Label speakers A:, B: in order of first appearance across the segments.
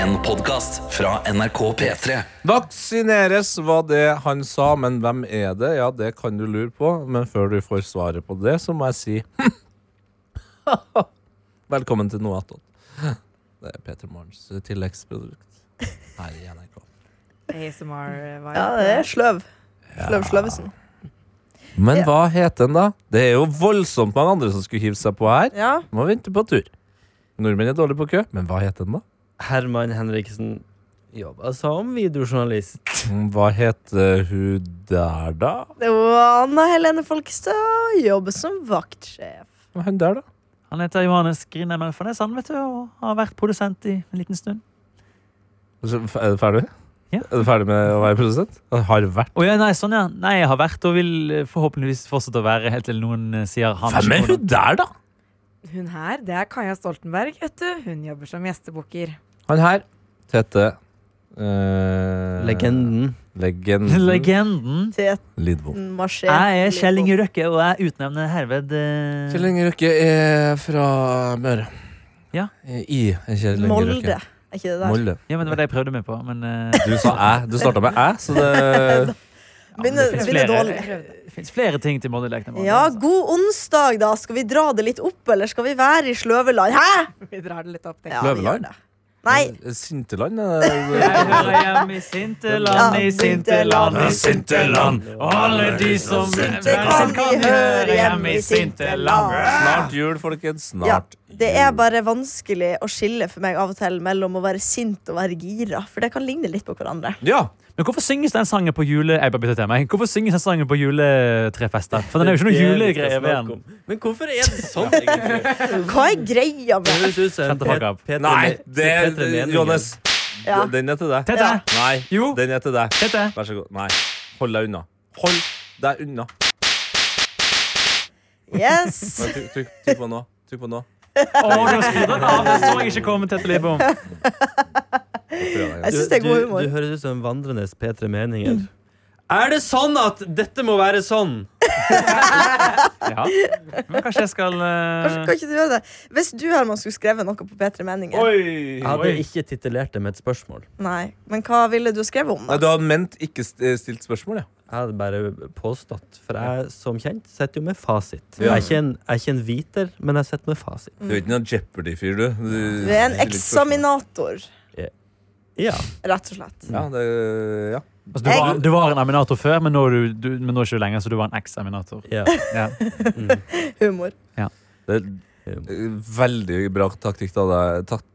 A: En podcast fra NRK P3
B: Vaksineres var det han sa, men hvem er det? Ja, det kan du lure på, men før du får svaret på det, så må jeg si Velkommen til Noe attåt. Det er Peter Morgens tilleggsprodukt her i NRK.
C: ASMR-vibe.
D: Ja, det er sløv. Sløv Sløvesen.
B: Men
D: Ja.
B: hva heter den, da? Det er jo voldsomt mange andre som skulle hive seg på her.
D: Ja.
B: Må vente på tur. Nordmenn er dårlige på kø, men hva heter den, da?
E: Herman Henriksen jobba som videojournalist.
B: Mm, Hva heter hun der, da?
D: Det var Anna Helene Folkestad jobber som vaktsjef.
B: Hva er Hun der, da?
F: Han heter Johannes Grinem Elfernes, han, vet du, og har vært produsent i en liten stund.
B: Altså, f- Er du ferdig?
F: Ja.
B: Er du ferdig med å være produsent? Har vært
F: Å ja, nei, sånn, ja. Nei, jeg har vært og vil eh, forhåpentligvis fortsette å være helt til noen eh, sier han
B: Hvem er
F: ikke
B: hun der, da?
C: Hun her, det er Kaja Stoltenberg. vet du. Hun jobber som gjestebukker.
B: Han her heter eh,
E: Legenden.
B: Legenden
F: hvordan- Legenden.
D: Teten
B: Lidbom.
D: marsjerte
F: Jeg er
D: litt
F: Kjell Inge
D: opp.
F: Røkke, og jeg utnevner herved eh,
B: Kjell Inge Røkke er fra Møre. Eh,
F: Ja.
B: I Kjell Inge
D: Molde.
B: Røkke.
D: Er ikke det der?
B: Molde.
F: Ja, men det var det jeg prøvde meg på, men eh,
B: Du sa æ. Du starta med æ, så det
F: ja, men
D: Begynner,
F: det finnes
D: begynner
F: flere-
D: dårlig.
F: Det fins flere ting til Molde-lekene. våre,
D: Ja,
F: altså.
D: god onsdag, da. Skal vi dra det litt opp, eller skal vi være i sløveland? Hæ?!
C: Vi drar det litt opp. tenker
D: Ja,
C: jeg.
D: vi gjør
B: Løveland?
D: det. Nei.
B: Sinteland?
F: Jeg hører
B: eh,
F: hjemme i Sinteland,
D: Ja,
F: i Sinteland, i Sinteland. Og alle de som
D: Sinteland, vi hører hjemme i Sinteland.
B: Snart jul, folkens.
D: Ja,
B: Snart.
D: det er
B: jul.
D: bare vanskelig å skille for meg av og til mellom å være sint og være gira, for det kan ligne litt på hverandre.
B: Ja!
F: Men hvorfor synges den sangen på jule... Jeg bare bytter tema. jeg. Hvorfor synges den sangen på juletrefester? For den er jo ikke noe julegreie ved den.
E: Men hvorfor er det sånn, egentlig?
D: Hva er greia
E: Det
D: med
E: høres ut som en
F: Shut the fuck up.
E: Pet- Peter-
B: Nei, det
E: Peter Meningen.
B: Johannes.
D: Ja.
B: Den er til deg.
F: Tete!
D: Ja.
B: Nei,
F: Jo.
B: den er til deg.
F: Tete!
B: Vær så god. Nei, hold deg unna. Hold deg unna.
D: Yes!
B: Nei, Trykk trykk- trykk på nå. Trykk på nå.
F: Å, nå skrur den av! Den så jeg ikke komme, Tete Lidbom.
B: Prøv deg.
D: Jeg synes det er god
E: Du-
D: humor.
E: Du, du høres ut som en vandrende P3 Meninger. Er det sånn at dette må være sånn?
F: Ja. Men kanskje jeg skal eh,
D: Kanskje, kan ikke du gjøre det? Hvis du Herman, skulle skrevet noe på bedre meninger
E: Jeg hadde ikke titulert det med et spørsmål.
D: Nei, Men hva ville du skrevet om?
B: Nei,
D: da?
B: du har ment ikke st- eh, stilt spørsmål, ja.
E: Jeg hadde bare påstått, for jeg som kjent sitter jo med fasit.
B: Ja.
E: Jeg, er ikke en, jeg er ikke en viter, men jeg sitter med fasit.
B: Du er ikke noen Jeopardy-fyr, du. Du
D: Du er en
B: stiller spørsmål.
D: eksaminator,
E: Ja.
D: rett og slett.
B: Ja, det, ja.
F: altså, du, var, du var en aminator før, men nå er du, du, men nå er ikke du lenger, så du var en eksaminator.
E: ja.
F: Ja.
D: Humor.
B: det er eh, veldig bra taktikk av deg. Tak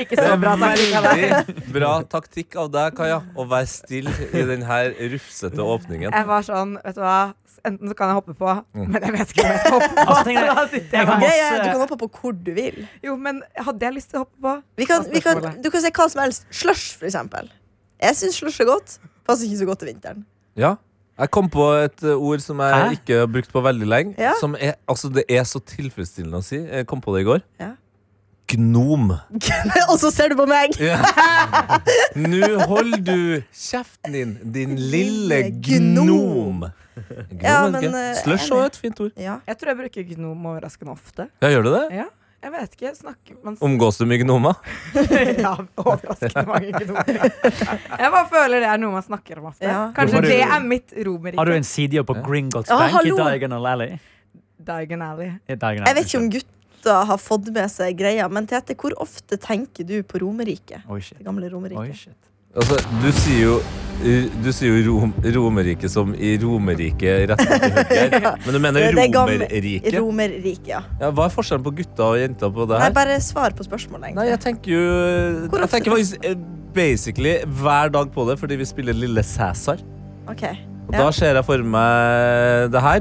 C: Ikke så bra taktikk av deg.
B: veldig bra taktikk av deg, Kaja, å være stille i denne rufsete åpningen.
C: Jeg var sånn, vet du hva, enten så kan jeg hoppe på,
B: Mm.
C: men jeg vet ikke om jeg skal hoppe på.
F: Altså, tenk deg-
C: Så da sitter
F: jeg
C: jeg
F: kan
C: bare-
D: Det
F: Masse-
D: er, du kan hoppe på hvor du vil.
C: Jo, men hadde jeg lyst til å hoppe på?
D: Vi kan,
C: Hva er
D: vi kan,
C: spørsmålet?
D: du kan si hva som helst. Slush, for eksempel. Jeg syns slush er godt. Passer ikke så godt til vinteren.
B: Ja. Jeg kom på et eh, ord som jeg
F: Hæ?
B: ikke har brukt på veldig lenge.
D: Ja.
B: Som er, altså, det er så tilfredsstillende å si. Jeg kom på det i går.
D: Ja.
B: Gnom.
D: og så ser du på meg!
B: Nå holder du kjeften din, din lille
D: Lille
B: gnom.
D: gnom.
B: Gnom,
D: Ja,
B: er det ikke?
D: men, eh,
B: Slush
D: enig.
B: er et fint ord.
D: Ja.
C: Jeg tror jeg bruker gnom overraskende ofte.
B: Ja, gjør du det?
C: Ja, jeg vet ikke. Snakker man
B: Omgås du mye gnomer?
C: ja, overraskende mange gnomer. Jeg bare føler det er noe man snakker om ofte.
D: Ja.
C: Kanskje
F: Har du-
C: det er mitt romerike.
F: Har du en sidejobb på
B: Ja.
F: Gringotts
D: Ja,
F: Bank i
D: hallo.
F: Diagonal Alley?
C: Diagon Alley.
F: I Diagonal
D: Jeg vet ikke om gutta har fått med seg greia, men Tete, hvor ofte tenker du på Romerike?
F: Oi, shit.
D: Det gamle
F: Oi,
D: Romerike.
F: shit.
B: Altså, du sier jo eh, du sier jo Rom, Romerike som i Romerike rett opp i høyre. Men du mener
D: Det- det er gammel-
B: Romerrike?
D: Romerrike, ja.
B: Ja, hva er forskjellen på gutta og jenta på det
D: Nei,
B: her?
D: bare svar på spørsmålet,
B: Nei,
D: egentlig.
B: jeg tenker jo
D: Hvor
B: Jeg
D: ofte
B: tenker faktisk eh, basically hver dag på det, fordi vi spiller Lille Cæsar.
D: Ok.
B: Og
D: Ja.
B: da ser jeg for meg det her.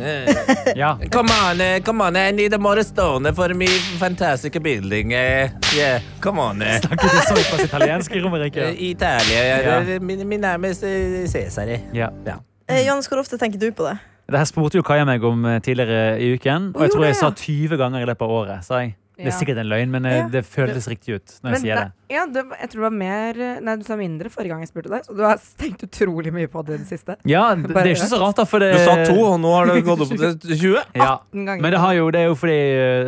B: Eh,
F: Ja.
B: Come on, eh, come on, I need a more stone for me fantastic building. eh, Yeah, come on. eh.
F: Snakket du såpass italiensk i Romerike?
B: Eh, Italia, ja.
F: Ja.
B: det er Min, min nærmeste Cæsar. eh.
F: Ja.
D: Eh, Johannes, hvor ofte tenker du på det?
F: Det her spurte jo Kaja meg om eh, tidligere i uken, og jeg
D: Hun
F: tror jeg
D: gjorde
F: sa
D: det,
F: 20 ganger i løpet av året. sa jeg. Det er sikkert en løgn, men eh,
D: Ja.
F: det føles riktig ut når jeg
C: Men
F: sier det.
C: nei, ja, det, var- jeg tror det var mer Nei, du sa mindre forrige gang jeg spurte deg, så du har tenkt utrolig mye på det i det siste.
F: Ja, det, det er ikke så rart, da, for det
B: Du sa to, og nå har det gått opp til 20.
F: Ja.
C: Den gangen.
F: Men det, har jo, det er jo fordi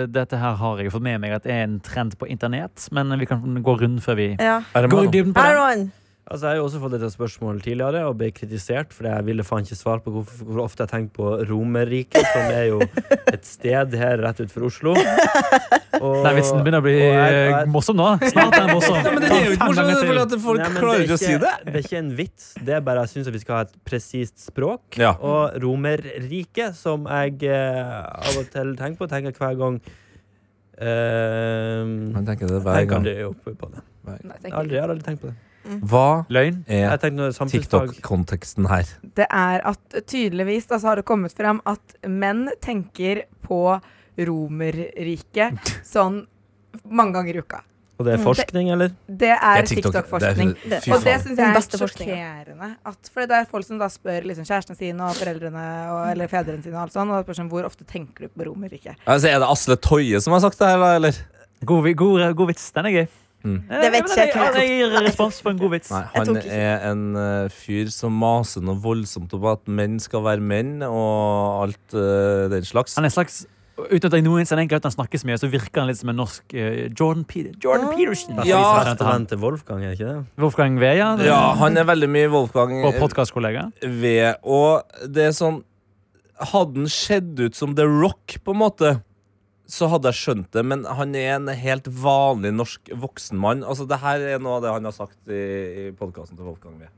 F: eh, dette her har jeg jo fått med meg at er en trend på internett. Men vi kan gå rundt før vi
D: Ja.
F: går i dybden på det.
D: Aaron!
E: Altså, jeg har jo også fått dette spørsmålet tidligere og ble kritisert, for jeg ville faen ikke svare på hvor, hvor ofte jeg tenker på Romerriket, som er jo et sted her rett utenfor Oslo. Og-
F: Den vitsen begynner å bli
E: og jeg-
F: eh,
E: jeg-
F: morsom nå. Snart er den morsom.
B: Ja, men det er jo ikke
F: Ta fem ganger
B: morsomt,
F: til.
B: for at folk
E: Nei, men
B: klarer
E: det er
B: ikke å si det.
E: Det er ikke en vits. Det er bare jeg syns vi skal ha et presist språk.
B: Ja.
E: Og Romerriket, som jeg eh, av og til tenker på, tenker hver gang eh,
B: Man tenker det hver
E: Tenker
B: gang.
E: aldri oppe på det.
C: Nei,
E: Jeg
C: tenk
E: har aldri, jeg har aldri tenkt på det.
B: Hva
F: Løgn.
B: er
E: Jeg tenkte når samfunnsfag
B: TikTok-konteksten her?
C: det er at tydeligvis da, så har det kommet frem at menn tenker på Romerriket sånn mange ganger i uka.
E: Og det er forskning, eller?
C: Det
B: Det er
C: er
B: TikTok-
C: TikTok-forskning.
B: det er- fy
C: og det
B: faen.
D: Den
C: syns jeg er
D: beste forskningen.
C: sjokkerende. At, for det er folk som da spør liksom, kjærestene sine og foreldrene og, eller fedrene sine og alt sånn, og da spør de hvor ofte tenker du på Romerriket.
B: Altså, er det Asle Toje som har sagt det her, da, eller?
F: God, vi- god, god vits. Den er gøy.
B: Mm.
F: Eh,
D: Det vet
F: men
D: ikke jeg hvem
F: Jeg gir respons på en god vits.
B: Nei,
D: Jeg
B: han
D: tok ikke.
B: er en eh, fyr som maser noe voldsomt om at menn skal være menn, og alt eh, den slags.
F: Han er en slags Uten at jeg noensinne egentlig har hørt han snakke så mye, så virker han litt som en norsk eh, Jordan, Peter, Jordan Peterson.
B: Ja.
F: Hvis jeg skjønte han.
E: Bestevenn til Wolfgang, er ikke det?
F: Wolfgang Veia
B: Ja, han er veldig mye Wolfgang eh,
F: og podkastkollega.
B: ved. Og det er sånn Hadde han sett ut som The Rock, på en måte, så hadde jeg skjønt det, men han er en helt vanlig norsk voksen mann. Altså, det her er noe av det han har sagt i, i podkasten til Wolfgang Ved.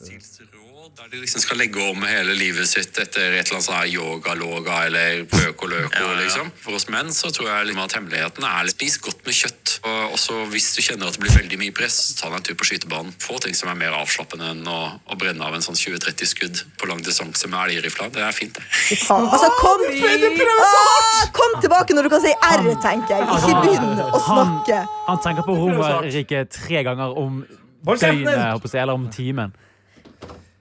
G: livsstilsråd der de liksom skal legge om hele livet sitt etter et eller annet sånn her yoga-loga eller pøko-løko, liksom. For oss menn så tror jeg liksom at hemmeligheten er spis godt med kjøtt. Og også hvis du kjenner at det blir veldig mye press, så ta deg en tur på skytebanen. Få ting som er mer avslappende enn å, å brenne av en sånn 20-30 skudd på lang distanse med elgrifla. Det er fint, det.
D: Altså, kom, Åh, kom tilbake når du kan si R, tenker jeg. Ikke begynn å
F: Han-
D: snakke.
F: Han tenker på Romerriket tre ganger om døgnet, holdt på å si, eller om timen.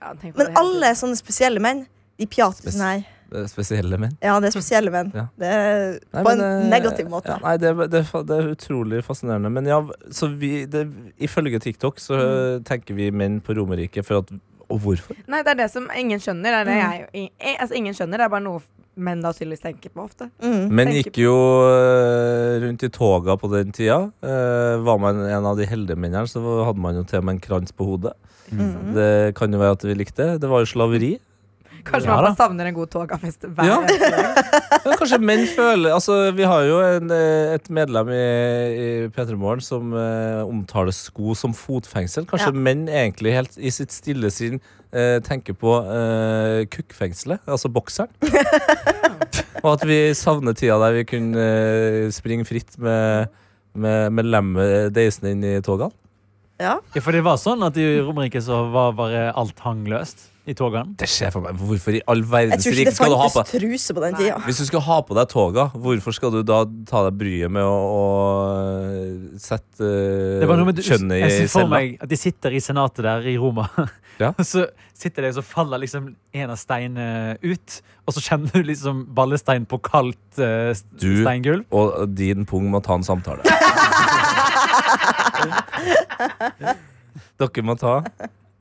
C: Ja, tenk på det.
D: Men alle sånne spesielle menn, de pjater sånn her.
B: Det er spesielle menn.
D: Ja, det er spesielle menn.
B: Ja.
D: Det er
B: Nei,
D: på
B: men,
D: en
B: eh,
D: negativ måte.
B: Ja, nei, det, er- det, er fa- det er utrolig fascinerende. Men ja, så vi det, Ifølge TikTok så øh,
D: Mm.
B: tenker vi menn på Romerike for at Og hvorfor?
C: Nei, det er det som ingen skjønner. Det
D: Mm.
C: er det jeg, i- altså, ingen skjønner, det er bare noe menn da tydeligvis tenker på ofte.
D: Mm.
B: Menn
C: Tenker
B: gikk jo øh, rundt i toga på den tida. Eh, var man en av de heldige mennene, så hadde man jo til og med en krans på hodet.
D: Mm. Mhm.
B: Det kan jo være at vi likte det. Det var jo slaveri.
C: Kanskje
F: Ja
C: man
F: da.
C: bare savner en god togafest hver
B: Ja.
C: eneste dag.
B: Men kanskje menn føler Altså, vi har jo en, eh, et medlem i, i P3 Morgen som eh, omtaler sko som fotfengsel. Kanskje
D: Ja.
B: menn egentlig helt i sitt stille sinn eh, tenker på eh, kukkfengselet, altså bokseren. Og at vi savner tida der vi kunne eh, springe fritt med, med, med lemmet deisende inn i togene.
D: Ja.
F: Ja, for det var sånn at i Romerike så var bare alt hang løst i togene.
B: Det skjer for meg. Hvorfor i all
D: Jeg
B: verdens
D: tror ikke
B: rike
D: det
B: skal du ha på
D: fantes truse på den tida.
B: Hvis du skal ha på deg toga, hvorfor skal du da ta deg bryet med å, å sette eh,
F: Det var noe med,
B: kjønnet
F: jeg
B: i
F: ser for
B: cella?
F: meg at de sitter i senatet der i Roma.
B: Ja.
F: Og så sitter de, og så faller liksom en av steinene ut. Og så kjenner du liksom ballestein på kaldt eh, s-
B: Du-
F: steingulv.
B: Og din pung må ta en samtale. Dere må ta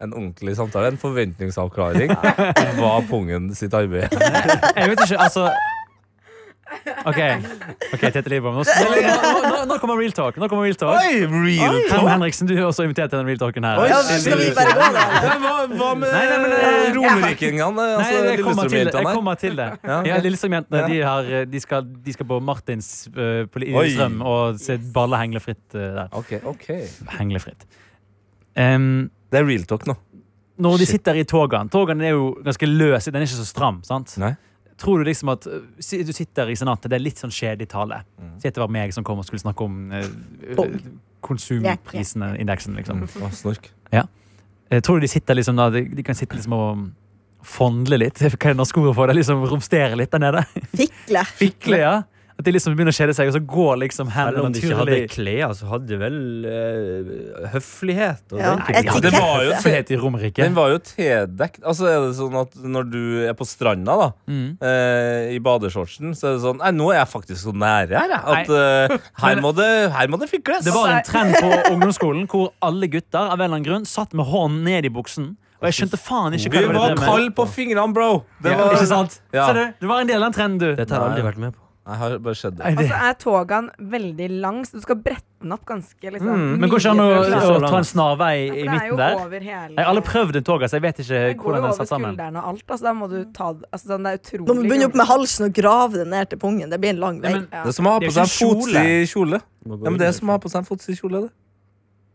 B: en ordentlig samtale, en forventningsavklaring om hva pungen sitt arbeid er.
F: Jeg vet ikke, altså OK, ok, Tete Lidbom. Nå, nå, nå, nå, nå kommer real talk. Nå kommer real talk.
B: real
F: Herman Henriksen, du er også invitert til den real talken her.
B: Oi,
D: Ja, men skal vi bare gå da? eller?
B: Ja, hva, hva med
F: Nei, nei, men, eh,
B: romerikingene?
F: Nei,
B: Altså,
F: jeg kommer til det. Jeg
B: Lillestrøm-jentene?
F: kommer til det.
B: Ja, ok.
F: Ja, Lillestrøm-jentene
B: Ja.
F: de, har, de, skal, de skal på Martins eh, på
B: Oi.
F: Lillestrøm og se baller henglefritt eh, der.
B: Ok, ok.
F: Henglefritt. Em,
B: Det er real talk nå.
F: når de
B: Shit.
F: sitter i togene Togene er jo ganske løse, den er ikke så stram. sant?
B: Nei.
F: Tror du liksom at eh, si- du sitter i senatet, det er litt sånn kjedelig tale. Si at det var meg som kom og skulle snakke om eh,
D: Bong.
F: konsumprisene, indeksen, liksom.
B: Mm. Å, snork.
F: Eh, tror du de sitter liksom da, de, de kan sitte liksom og fondle litt? Hva er det norske ordet for det? Liksom romstere litt der nede?
D: Fikle.
F: Fikle, ja. At de liksom begynner å kjede seg, og så går liksom
E: Selv
F: hendene
E: om de ikke hadde
F: naturlig
E: klær, så hadde de vel eh, høflighet. Og
D: Ja.
E: den
F: Nei,
E: typen.
F: de hadde
D: Etikett.
F: bare jo frihet i Romerike.
B: Den var jo tildekt. Altså, er det sånn at når du er på stranda, da,
F: Mm.
B: eh, i badeshortsen, så er det sånn Nei, nå er jeg faktisk så nære her, jeg, at eh, her, må det, her må det fikles.
F: Det var
C: Altså,
F: en trend på ungdomsskolen hvor alle gutter av en eller annen grunn satt med hånden ned i buksen. Og jeg skjønte faen ikke hva
B: Vi
F: det var
B: var
F: det med.
B: kald på fingrene, bro. Det
F: Ja,
B: var,
F: ikke sant?
B: Ja.
F: Ser du? Du var en del av en trend, du.
E: Dette har jeg aldri vært med på.
B: jeg har bare sett det.
F: Nei,
C: Og
F: det.
C: så er togene veldig lang, så du skal brette den opp ganske liksom,
B: Mm,
F: Men går ikke an å,
C: mye for
F: å
C: å klare-
F: ta en snarvei
C: Ja, for
F: i
C: det er jo
F: midten der?
C: Over hele,
F: Jeg har aldri prøvd en tog, altså. Jeg vet ikke
C: Det går
F: hvordan
C: jo
F: den er
C: over
F: satt sammen.
C: skuldrene og alt. Altså, da må du ta det- altså, sånn, Det er
D: Mm.
C: utrolig
D: Nå må man begynne opp med
C: kronglete.
D: halsen og grave det ned til pungen. Det blir en lang
F: Ja,
D: vei.
F: men,
B: Det er som å ha
F: Det er
B: på
F: jo
B: seg
F: ikke en
B: en fotsid kjole.
E: Må
B: Ja, men
E: gå
B: det
E: videre.
B: er som å ha på seg en fotsid kjole, det.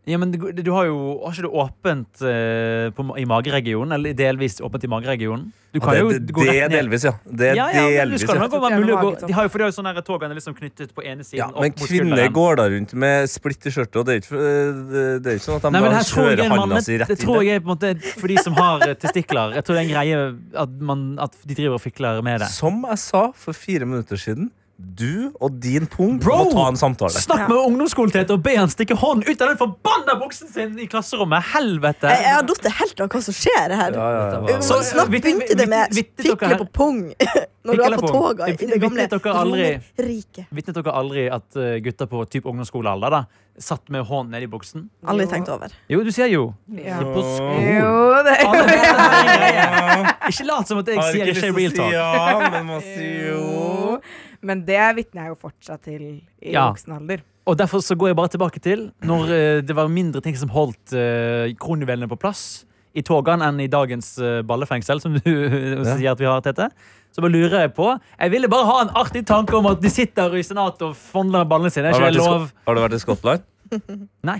F: ja, men du, du har jo Har ikke du åpent eh, på, ma- i mageregionen? Eller delvis åpent i mageregionen? Du kan
B: Ja,
F: jo
B: det, det,
F: gå
B: det
F: rett
B: er
F: ned.
B: delvis, ja. Det er
F: Ja, ja, men du
B: delvis,
F: skal
B: ja.
F: nok være mulig å gå
C: Magetopp.
F: De har jo, for det er jo sånne her tog, den er liksom knyttet på ene siden
B: Ja,
F: opp
B: men
F: mot
B: kvinner
F: skulderen.
B: går da rundt med splitt i skjørtet, og det er ikke, det er ikke sånn at de
F: Nei, men
B: bare
F: her tror jeg
B: kjører
F: en manne,
B: handa si rett
F: det
B: inn
F: tror
B: der.
F: jeg er på en måte for de som har eh, testikler. Jeg tror det er en greie at, man, at de driver og fikler med det.
B: Som jeg sa for fire minutter siden, du og din pung
F: Bro!
B: må ta en samtale.
F: Snakk med ungdomsskoletete og be han stikke hånden ut av den forbanna buksen sin i klasserommet! Helvete!
D: Jeg, jeg har datt helt av hva som skjer her.
B: Ja, ja,
E: Dette
B: ja.
E: var-
D: Så
F: Så, eh,
D: snart
F: vittig-
D: begynte det med
F: vittig- vittig dere
D: fikle
F: her.
D: på pung når du
F: Fikle
D: er på
F: pung.
D: toga i det
F: Vittig
D: gamle
F: dere aldri.
D: Romerriket.
F: Vitnet dere aldri at eh, gutter på typ ungdomsskolealder da, satt med hånden nedi buksen?
D: Aldri
C: Jo.
D: tenkt over.
F: Jo, du sier jo.
C: Ja.
E: På skolen.
C: Jo, det
F: Alle vet at det er en greie. Ikke lat som at jeg
B: Har
F: sier
B: ikke lyst
F: ikke
B: til å
F: real
B: si
F: talk.
B: ja, men må si jo.
C: Jo. Men det vitner jeg jo fortsatt til i
F: Ja.
C: voksen alder.
F: Og derfor så går jeg bare tilbake til når eh, det var mindre ting som holdt uh, kronjuvelene på plass i togene enn i dagens eh, ballefengsel, som du sier at vi har, Tete. Så bare lurer jeg på Jeg ville bare ha en artig tanke om at de sitter i senatet og fondler med ballene sine. Er
B: Har du,
F: ikke
B: vært
F: det
B: i
F: lov?
B: Skot- har du vært i Skottland?
F: Nei.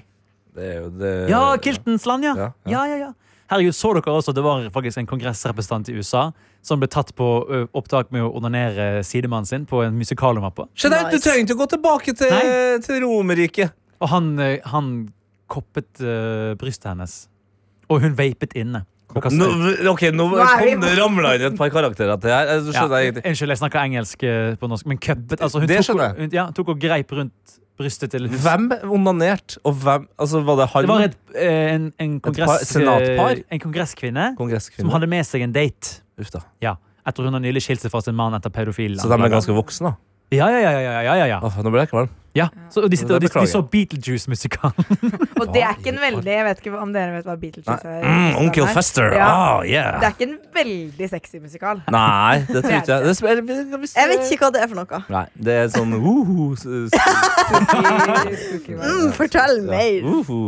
B: Det er jo det
F: Ja, Kiltens land, ja.
B: Ja, ja.
F: Ja, ja, ja. Herregud, så dere også at det var faktisk en kongressrepresentant i USA som ble tatt på ø, opptak med å onanere sidemannen sin på en musikalomappe.
B: Jeanette, du
D: Nice.
B: trenger ikke å gå tilbake til,
F: Nei.
B: til Romerriket.
F: Og han, ø, han koppet ø, brystet hennes. Og hun vapet inne. Og kastet
B: Nå,
F: ut.
B: ok, nå
C: Nå er vi-
B: kom det ramla inn et par karakterer til her. Jeg
F: Ja,
B: skjønner jeg ingenting.
F: Unnskyld, jeg snakker engelsk ø, på norsk, men cuppet altså, hun,
B: Det
F: tok,
B: skjønner jeg.
F: hun ja, tok og greip rundt brystet til
B: Hvem onanerte, og hvem Altså, var det han?
F: Det var et, ø, en, en, kongress,
B: senatpar?
F: ø, en kongresskvinne som
B: Kongresskvinne?
F: hadde med seg en date.
B: Uff da.
F: Ja, etter hun har nylig skilt seg fra sin mann etter pedofil.
B: Så de er ganske voksne, da?
F: Ja, ja, ja, ja, ja, ja, ja.
B: Åh, nå ble jeg kvalm.
F: ja. Så de,
B: Det
F: sitter, og de,
B: beklager
F: de
B: jeg.
F: så Beetlejuice-musikalen.
C: Og det er ikke en veldig Jeg vet ikke om dere vet hva Beetlejuice er.
B: Mm, Onkel
C: Nei.
B: Fester.
C: Ja.
B: Ah,
C: Det
B: yeah.
C: er ikke en veldig sexy musikal.
B: Nei, det tror ikke jeg. Det spiller, hvis
D: Jeg vet ikke hva det er for noe.
B: Nei, det er sånn uhu, s- s-
C: Spooky- spooky vibe.
D: Mm, fortell
B: ja,
F: Uh.
D: mer.
B: uhu.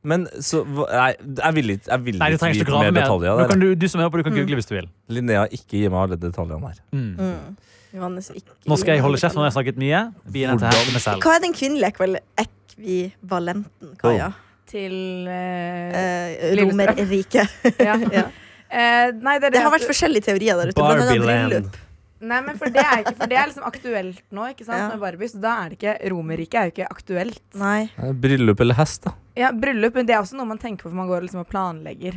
B: Men så hva- Nei, jeg vil ikke, jeg vil
F: Nei, du
B: ikke
F: trenger
B: vite
F: ikke å grave
B: mer
F: mer. Nå
B: detaljer. Mm.
F: kan
B: Der.
F: du, du som hører på, du kan google hvis du vil.
B: Linnea, ikke gi meg alle detaljene her.
F: Mm.
D: Mm. Johannes, ikke
F: Nå skal jeg holde kjeft, nå har jeg snakket mye. Vi er nødt til å hente meg selv.
D: Hva er den kvinnelige ekval- ekvivalenten, Kaja?
C: Til eh,
D: Eh,
C: Lillestrøm.
D: Romerriket.
C: ja.
D: Ja.
C: Eh, Nei, det er
D: Det har
C: at-
D: vært forskjellige teorier der ute. blant
E: sånn
D: annet bryllup.
E: Barbie-land.
C: Nei, men for det er ikke For det er liksom aktuelt nå, ikke sant,
D: Ja.
C: med Barbie. Så da er det ikke Romerriket er jo ikke aktuelt.
D: Nei.
B: Eh, Bryllup eller hest, da.
C: Ja, Bryllup, men det er også noe man tenker på for man går liksom og planlegger.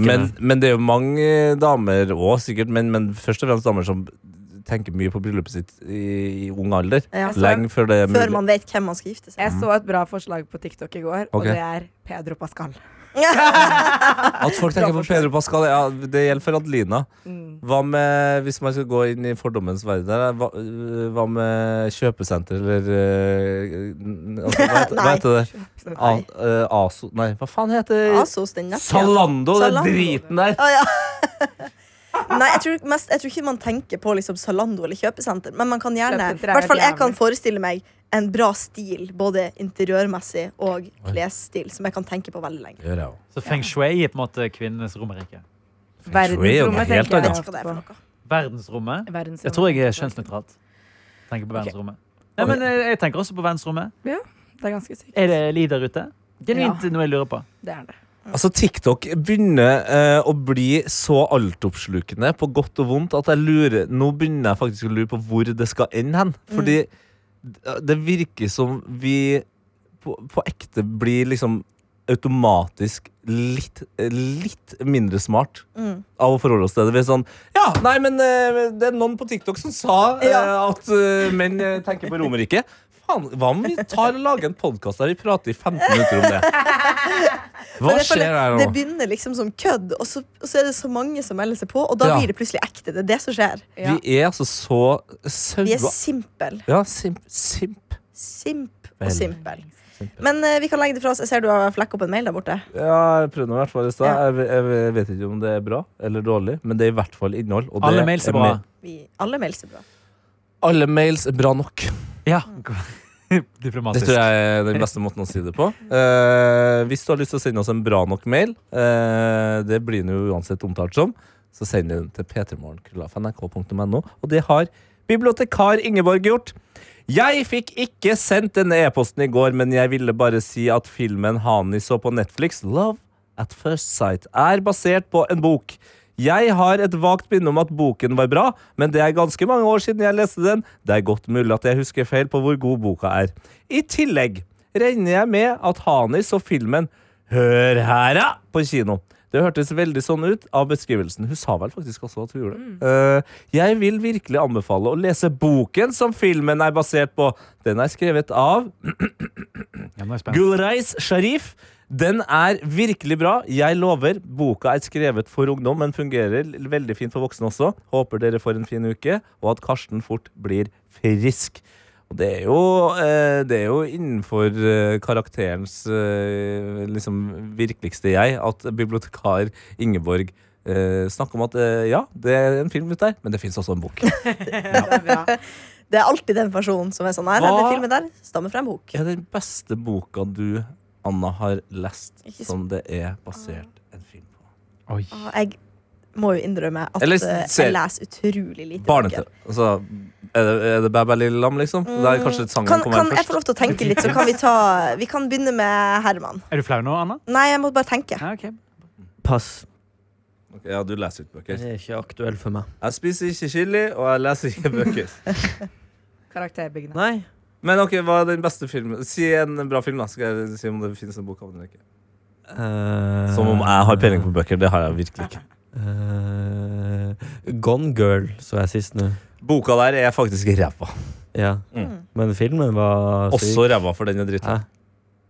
B: Men, men det er jo mange damer òg, sikkert, men, men først og fremst damer som tenker mye på bryllupet sitt i, i ung alder.
D: Ja.
C: Jeg så-
B: Lenge før det er
D: Før
B: mulig.
D: man vet hvem man skal gifte seg
C: Jeg så et bra forslag på TikTok i går,
B: Mm.
C: og
B: Ok.
C: det er Pedro Pascal.
B: At folk tenker på Pedro Pascal, ja, det gjelder for Adelina.
C: Mm.
B: Hva med, hvis man skal gå inn i fordommens verden her, hva, øh, hva med kjøpesenter eller øh, n- altså, hva, heter, hva
D: Nei.
B: heter det?
C: Kjøpesenter.
B: A, øh, Aso Nei, hva faen heter
D: Asos, altså, den nettsida.
B: Salando, den
D: Zalando.
B: driten der!
D: Å, ja. Nei, jeg tror, mest, jeg tror ikke man tenker på liksom Zalando eller kjøpesenter, men man kan gjerne
C: Kjøpesenter er
D: I hvert fall jeg
C: jævlig.
D: kan forestille meg en bra stil, både interiørmessig og klesstil, som jeg kan tenke på veldig lenge.
B: Gjør jeg også.
F: Så feng shui er på en måte kvinnenes romerike.
C: Verdensrommet
B: Helt
C: tenker
D: Jeg
C: jeg
B: annet.
D: vet ikke hva det er for noe.
F: Verdensrommet.
C: Verdensrommet.
F: Jeg tror jeg er kjønnsnøytralt. Tenker på verdensrommet. Nei, men eh, jeg tenker også på verdensrommet.
C: Det er ganske sykt.
F: Er det liv der ute? Genuint
C: Ja.
F: noe jeg lurer på.
C: Det er det.
B: Altså, TikTok begynner eh, å bli så altoppslukende på godt og vondt at jeg lurer Nå begynner jeg faktisk å lure på hvor det skal ende hen.
D: Mm.
B: Fordi det virker som vi på, på ekte blir liksom automatisk litt, litt mindre smart
D: Mm.
B: av å forholde oss til det. Vi er sånn Ja, nei, men eh, det er noen på TikTok som sa eh,
D: Ja.
B: at eh, menn eh, tenker på Romerike. Faen, hva om vi tar og lager en podkast der vi prater i 15 minutter om det? Hva
D: Men jeg
B: skjer
D: føler
B: her
D: Det
B: nå?
D: begynner liksom som kødd, og så, og så er det så mange som melder seg på, og da
B: Ja.
D: blir det plutselig ekte. Det er det som skjer.
C: Ja.
B: Vi er altså så
D: Vi er
B: saua...
D: simpel.
B: Ja, simp. simp.
D: Simp og
B: Vel.
D: simpel. Men eh, vi kan legge det fra oss. Jeg ser du har flekk opp en mail der borte.
B: Ja, jeg prøvde nå i hvert fall i stad.
D: Ja.
B: Jeg, jeg vet ikke om det er bra eller dårlig, men det er i hvert fall innhold. og det
F: Alle mails er bra.
B: mer-
D: Vi, alle mails er bra.
B: Alle mails er bra nok.
F: Ja.
B: Det
F: Diplomatisk.
B: tror jeg er den beste måten å si det på. Eh, hvis du har lyst til å sende oss en bra nok mail, eh, det blir den jo uansett omtalt som, så send den til p3morgen.nrk.no. Og det har bibliotekar Ingeborg gjort. Jeg fikk ikke sendt denne e-posten i går, men jeg ville bare si at filmen Hani så på Netflix, Love at First Sight, er basert på en bok. Jeg har et vagt minne om at boken var bra, men det er ganske mange år siden jeg leste den. Det er godt mulig at jeg husker feil på hvor god boka er. I tillegg regner jeg med at Hani så filmen Hør her, ja! på kino. Det hørtes veldig sånn ut av beskrivelsen. Hun sa vel faktisk også at hun gjorde det. Eh, jeg vil virkelig anbefale å lese boken som filmen er basert på. Den er skrevet av
F: Ja, nå er jeg spent.
B: Gulreis Sharif. Den er virkelig bra. Jeg lover. Boka er skrevet for ungdom, men fungerer l- veldig fint for voksne også. Håper dere får en fin uke, og at Karsten fort blir frisk. Og det er jo, eh, det er jo innenfor eh, karakterens eh, liksom virkeligste jeg at bibliotekar Ingeborg eh, snakker om at eh, ja, det er en film ute der, men det fins også en bok.
D: Det er alltid den personen som er sånn Nei, nei, den filmen der stammer fra en bok.
B: Hva er den beste boka du, Anna, har lest
D: Ikke så-
B: som det er basert en film på?
F: Oi.
D: Og jeg må jo innrømme at
B: Eller
D: eh,
B: ser-
D: jeg leser utrolig lite
B: Barne-TV. Altså, er det, er det Bæ Bæ Lille Lam, liksom? Det er kanskje sangen
D: Mm. Kan,
B: kommer
D: kan
B: her
D: jeg få
B: først.
D: lov til å tenke litt, så kan vi ta Vi kan begynne med Herman.
F: Er du flau nå, Anna?
D: Nei, jeg må bare tenke.
F: Ja, ok.
E: Pass.
B: Ok, Ja, du leser ikke
E: Den
B: bøker.
E: er ikke aktuell for meg.
B: Jeg spiser ikke chili, og jeg leser ikke bøker.
C: Karakterbyggende.
E: Nei.
B: Men ok, hva er den beste filmen? Si en bra film, da. Skal jeg si om det finnes en bok av den eller ikke.
E: Eh,
B: Som om jeg har peiling på bøker. Det har jeg virkelig ikke.
E: eh, Gone Girl så jeg sist nå.
B: Boka der er faktisk ræva.
E: Ja.
F: Mm.
E: Men filmen var
B: Også ræva, for den er dritt.
E: Hæ?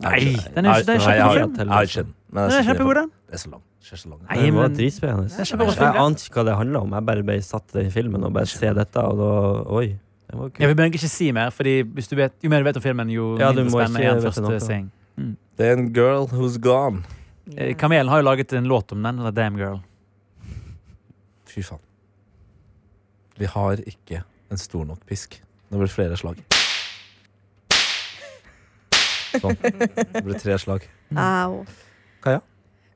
F: Nei, den er
B: Nei,
F: ikke- den er
B: nei, jeg har-
E: kjempefilm.
B: Jeg har ikke den. men jeg
F: Den er
B: synes den
F: kjempegod,
B: bra.
F: den.
B: Det er så lang. Ser så lang. ut.
F: Nei,
E: Den var
F: men-
E: dritspennende.
F: Det er
E: Jeg
F: kjempebra film, ja.
E: ante ikke hva det handla om. Jeg bare ble satt i den filmen og bare se dette, og da Oi. Det var
F: Jeg
E: kult.
F: vil egentlig ikke si mer, Fordi hvis du vet, jo mer du vet om filmen, jo
E: Ja, du
F: mindre
E: må
F: spennende
E: ikke
F: er den
E: vite noe.
F: første seing.
B: Det er en girl who's gone.
F: Eh, Kamelen har jo laget en låt om den. Eller Damn Girl.
B: Fy faen. Vi har ikke en stor nok pisk. Det blir flere slag. Sånn. Det blir tre slag.
D: Au.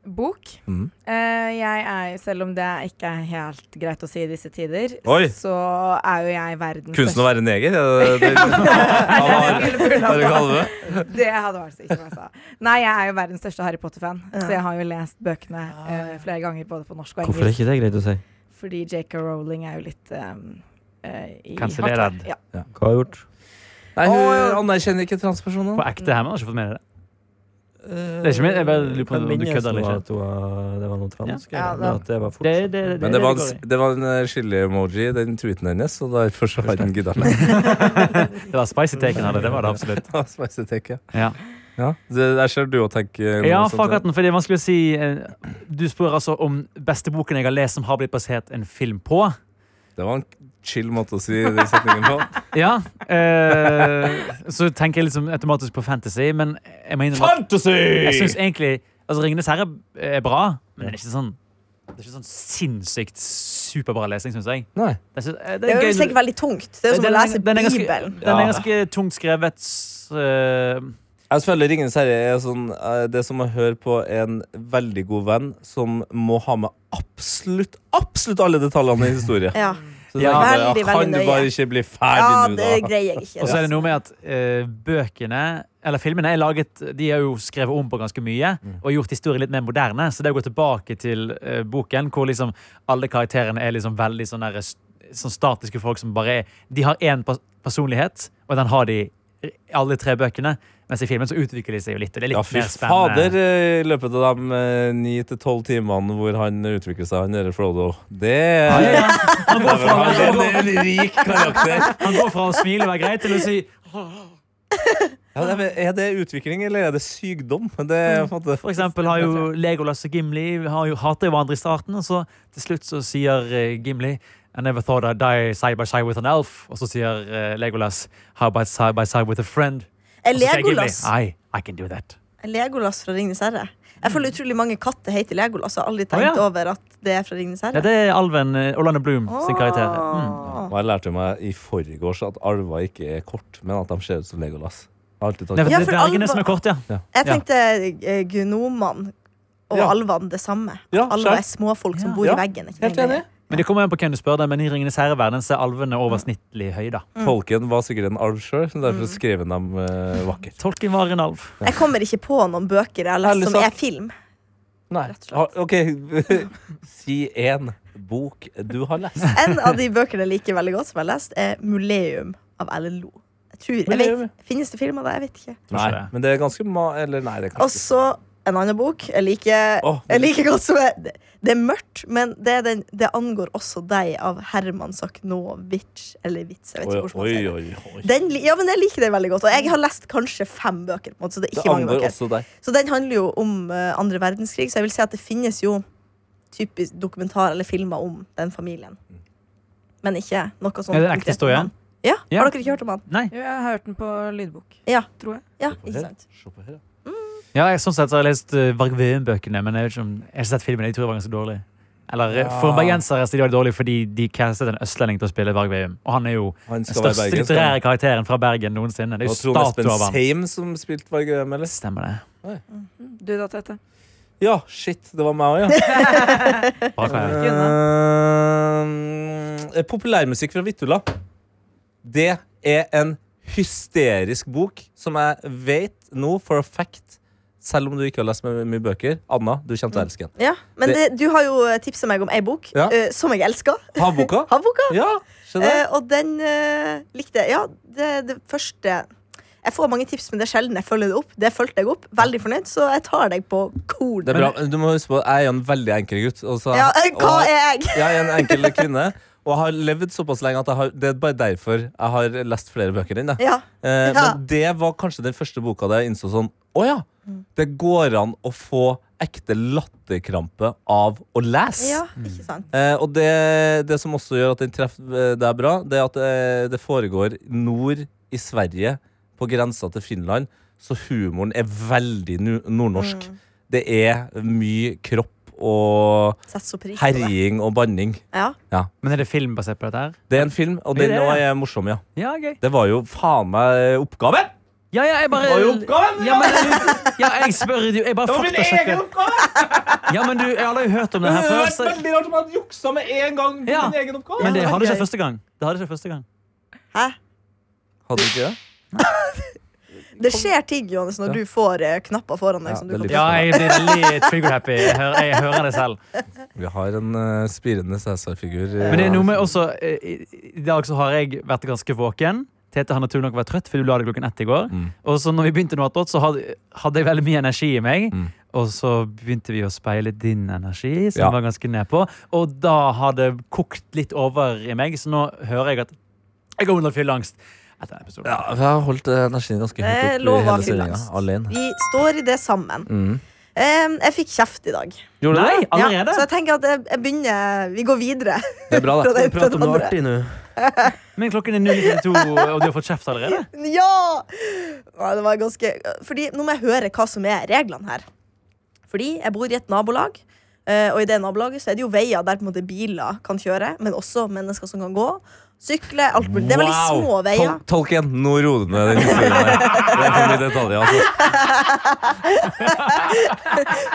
C: Bok.
B: Mm.
C: Eh, jeg er, selv om det ikke er helt greit å si i disse tider,
B: Oi.
C: så er jo jeg verdens
B: Kunsten å være neger? er det- det- Hva er det du kaller det?
C: Det hadde vært sykt om jeg sa. Nei, jeg er jo verdens største Harry Potter-fan, så jeg har jo lest bøkene eh, flere ganger, både på norsk og
E: Hvorfor er
C: engelsk.
E: ikke det greit å si?
C: Fordi J.K. Rowling er jo litt um, eh, i
F: Kansellerad.
C: hardt vær. Ja.
E: Hva har jeg gjort?
B: Nei, hun anerkjenner ikke transpersoner.
F: På ekte her, men jeg har ikke fått med deg det. Det er ikke min, jeg bare lurer på om
E: Jeg
F: du
E: Eh, minnes
F: kødder eller
E: nå
F: ikke.
E: At det var, det var noe transk,
C: Ja,
E: eller
C: da-
E: at det var
F: Det,
E: fortsatt.
F: det, det,
B: Men det var en,
F: går i.
B: s- det var en eh, chili-emoji i den tweeten hennes, og derfor så har den gidda mer.
F: det var spicy taken av det. Det var det absolutt.
B: Ja, spicy take, ja.
F: Ja,
B: Ja, det- Der ser du og tenker noe
F: ja
B: sånt,
F: fuck retten, for det er vanskelig å si eh, Du spør altså om beste boken jeg har lest som har blitt basert en film på.
B: Det var en chill måte å si den setningen på.
F: Ja. Eh, så tenker jeg liksom automatisk på fantasy, men jeg må innrømme at Jeg
B: Fantasy!
F: synes egentlig Altså, Ringenes herre er bra, men det er ikke sånn Det er ikke sånn sinnssykt superbra lesning, syns jeg.
B: Nei.
F: Det er, så- eh,
D: Det er
F: gøy-
D: jo sikkert veldig tungt. Det er jo som å
F: Den er-
D: lese
F: den er ganske-
D: Bibelen.
F: Den er
B: Ja.
F: ganske tungt skrevet. s- eh,
B: Jeg føler Ringenes herre er sånn eh, Det er som å høre på en veldig god venn som må ha med absolutt Absolutt alle detaljene i historien.
D: Ja.
B: Så
F: Ja.
B: tenker jeg bare, ja,
D: Veldig, veldig
B: kan du
D: nøye.
B: bare ikke bli ferdig
D: ja,
B: nå,
D: det
B: da?
D: greier jeg ikke.
F: og så er det noe med at eh, bøkene eller filmene er laget, de er jo skrevet om på ganske mye
B: Mm.
F: og gjort historien litt mer moderne. Så det å gå tilbake til eh, boken, hvor liksom alle karakterene er liksom veldig sånn der, sånn statiske folk som bare er De har én pers personlighet, og den har de alle tre bøkene. Mens i filmen så utvikler de seg jo litt. Og det er litt
B: Ja, fy
F: mer
B: fader,
F: spennende.
B: eh, i løpet av de eh, ni til tolv timene hvor han utvikler seg, han derre Frodo Det
F: Ja, ja,
B: er
F: ja. Han går fra,
B: Han
F: han går,
B: er en rik karakter.
F: han går fra å smile og være grei til å si
B: Ja, det er, er det utvikling, eller er det sykdom? Det er, på en måte,
F: For eksempel har jo Legolas og Gimli har jo, hater jo hverandre i starten, og så til slutt så sier eh, Gimli I never thought I'd die side by side with an elf. Og så sier eh, Legolas How about side by side with a friend?
D: Er
F: Og så sier Gimli
D: Legolas,
F: I, I can do that.
D: er Legolas fra Ringnes herre? Jeg føler utrolig mange katter heter Legolas. Jeg har aldri
F: Å, ja.
D: tenkt over at det er fra Ringnes
F: Ja,
D: herre.
F: det er alven eh, Orlando Bloom sin karakter. Mm.
D: Åh.
B: Og jeg lærte meg i forgårs at alver ikke er kort, men at de ser ut som Legolas. Jeg har alltid
F: Nei,
B: tatt
F: for
D: Ja,
F: det
D: for
F: er dvergene
D: alva-
F: som er kort, ja.
D: Jeg
F: Ja.
D: tenkte eh, gnomene og
B: Ja.
D: alvene det samme.
B: Ja,
D: Alver
B: skjønt.
D: er småfolk som
F: Ja.
D: bor
B: Ja.
D: i veggen. Ikke
B: Helt
D: sant?
B: enig.
F: Men det kommer an på hvem du spør, deg, men i Ringenes herre-verden så er alvene oversnittlig høye, da.
D: Mm.
B: Tolken var sikkert en alv sjøl, derfor skrev han dem eh, vakkert.
F: Tolken var en alv.
D: Jeg kommer ikke på noen bøker jeg har lest
B: Ærlig
D: som
B: sagt.
D: er film.
B: Nei.
D: Rett
B: Ah,
D: og
B: OK, si én bok du har lest.
D: En av de bøkene jeg liker veldig godt, som jeg har lest, er Muleum av Ellen Lo. Jeg tror, jeg vet,
B: Muleum,
D: finnes det film av det? Jeg vet ikke.
B: Nei,
F: Tror ikke det.
B: men det er ganske ma... Eller nei, det kan
D: Og så en annen bok jeg liker,
B: Åh.
D: jeg liker godt som er Det er mørkt, men det, er den, det angår også deg, av Herman Sakhnowitz. Eller Witz, jeg vet
B: Oi,
D: ikke hvordan man
B: oi,
D: sier det.
B: oi. oi.
D: Den, li- ja, men jeg liker den veldig godt. Og jeg har lest kanskje fem bøker. på en måte, så det er
B: Det
D: ikke mange
B: angår
D: bøker.
B: også deg.
D: Så den handler jo om eh, andre verdenskrig, så jeg vil si at det finnes jo typisk dokumentar eller filmer om den familien. Men ikke noe sånt.
F: Er det en ekte
D: konkret om
F: historie?
D: han. Ja,
F: Ja.
D: Har dere ikke hørt om han?
F: Nei.
C: Jo, jeg har hørt den på lydbok.
D: Ja.
C: Tror jeg.
D: Ja,
B: Se på
D: ikke
B: her.
D: sant?
B: Se på her, ja.
F: Ja, jeg, sånn sett så har jeg lest uh, Vargveum-bøkene, men jeg, vet ikke om, jeg har ikke sett filmen. Jeg tror det var ganske dårlig. Eller eh, For bergensere så er det dårlig fordi de castet en østlending til å spille Vargveum. Og han er jo
B: Han
F: den
B: skal være
F: største
B: bergensk.
F: litterære karakteren fra Bergen noensinne. Det
B: Det
F: er
B: var
F: jo
B: Trond
F: statue
B: Espen
F: av ham.
B: Seim som spilte Vargøyem, eller?
F: Stemmer det.
C: Du da, Tete?
B: Ja, shit, det var meg òg, ja.
F: Bra karakter.
C: Ikke
B: Eh, populærmusikk fra Vittula. Det er en hysterisk bok som jeg vet nå for a fact, selv om du ikke har lest mye, mye bøker. Anna, du kommer til å elske den.
D: Ja, men det,
B: Det-
D: du har jo tipsa meg om ei bok
B: Ja.
D: eh, som jeg elsker.
B: Havboka?
D: Havboka.
B: Ja, skjønner jeg.
D: Eh, og den eh, likte jeg. Ja, det, det første Jeg får mange tips, men det er sjelden jeg følger det opp. Det fulgte jeg opp. Veldig fornøyd, så jeg tar deg på
B: Det
D: kornet.
B: er bra. Du må huske på at jeg er jo en veldig enkel gutt. Og så,
D: Ja, eh, hva
B: og-
D: er jeg?
B: Jeg er en enkel kvinne. Og jeg har levd såpass lenge at jeg har, det er bare derfor jeg har lest flere bøker enn deg.
D: Ja.
B: Eh,
D: Ja.
B: Men det var kanskje den første boka der jeg innså sånn Å ja! Det går an å få ekte latterkrampe av å lese.
D: ja, ikke sant?
B: Eh, og det, det som også gjør at den treffer eh, deg bra, det er at eh, det foregår nord i Sverige, på grensa til Finland, så humoren er veldig nu- nordnorsk. Det er mye kropp og
D: Setter så pris på det.
B: herjing og banning.
D: Ja.
F: Men er det film basert på dette her?
B: Det er en film, og
F: Er
B: den
F: det det?
B: også er morsom, ja.
F: Ja, gøy.
B: Det var jo faen meg oppgaven!
F: Ja, ja, jeg bare
B: Det var jo oppgaven,
F: ja, men, jeg- ja, jeg spør jo Jeg bare faktasjekker.
B: oppgave!
F: Ja, men du, jeg har aldri hørt om det her før. Så,
B: rart om han juksa med en gang
F: Ja. din
B: egen oppgave.
F: men det hadde
D: Gøy.
F: ikke første gang. Det hadde ikke første gang.
D: Hæ?
B: Hadde du ikke det?
D: Det skjer ting, Johannes, når
B: Ja.
D: du får eh, knapper foran deg.
B: Ja,
D: som
B: det
D: du kan
B: lyder
D: trykke
F: Ja, jeg blir veldig trigger happy. Jeg hører, jeg hører det selv.
B: Vi har en eh, spirende Cæsar-figur.
F: Men det er noe
B: sånn.
F: med også eh, I i dag så har jeg vært ganske våken. Tete har naturlig nok vært trøtt, for du la deg klokken ett i går.
B: Mm.
F: Og så når vi begynte noe attåt, så hadde, hadde jeg veldig mye energi i meg.
B: Mm.
F: Og så begynte vi å speile din energi, som
B: Ja.
F: var ganske nedpå. Og da har det kokt litt over i meg, så nå hører jeg at jeg går under fylleangst. Etter denne episoden.
B: Ja, vi har holdt eh, energien ganske
D: Det
B: høyt opp i
D: lover
B: hele sendinga.
D: fyllangst.
B: Alene.
D: Vi står i det sammen.
B: Mm.
D: Em, jeg fikk kjeft i dag.
B: Gjorde
F: Nei,
B: du det?
F: allerede?
D: så jeg tenker at jeg, jeg begynner Vi går videre.
B: Det er bra,
D: Fra
B: det.
D: den til
E: Prat
D: den
E: om noe
D: andre.
E: artig nå.
F: Men klokken er 0.02, og du har fått kjeft allerede?
D: Ja! Nei, det var ganske Fordi Nå må jeg høre hva som er reglene her. Fordi jeg bor i et nabolag, eh, og i det nabolaget så er det jo veier der på en måte biler kan kjøre, men også mennesker som kan gå, sykle, alt mulig. Det er veldig små veier.
B: Tol Tolkien, nå roer du ned den historien der. Det er for mye detaljer, altså.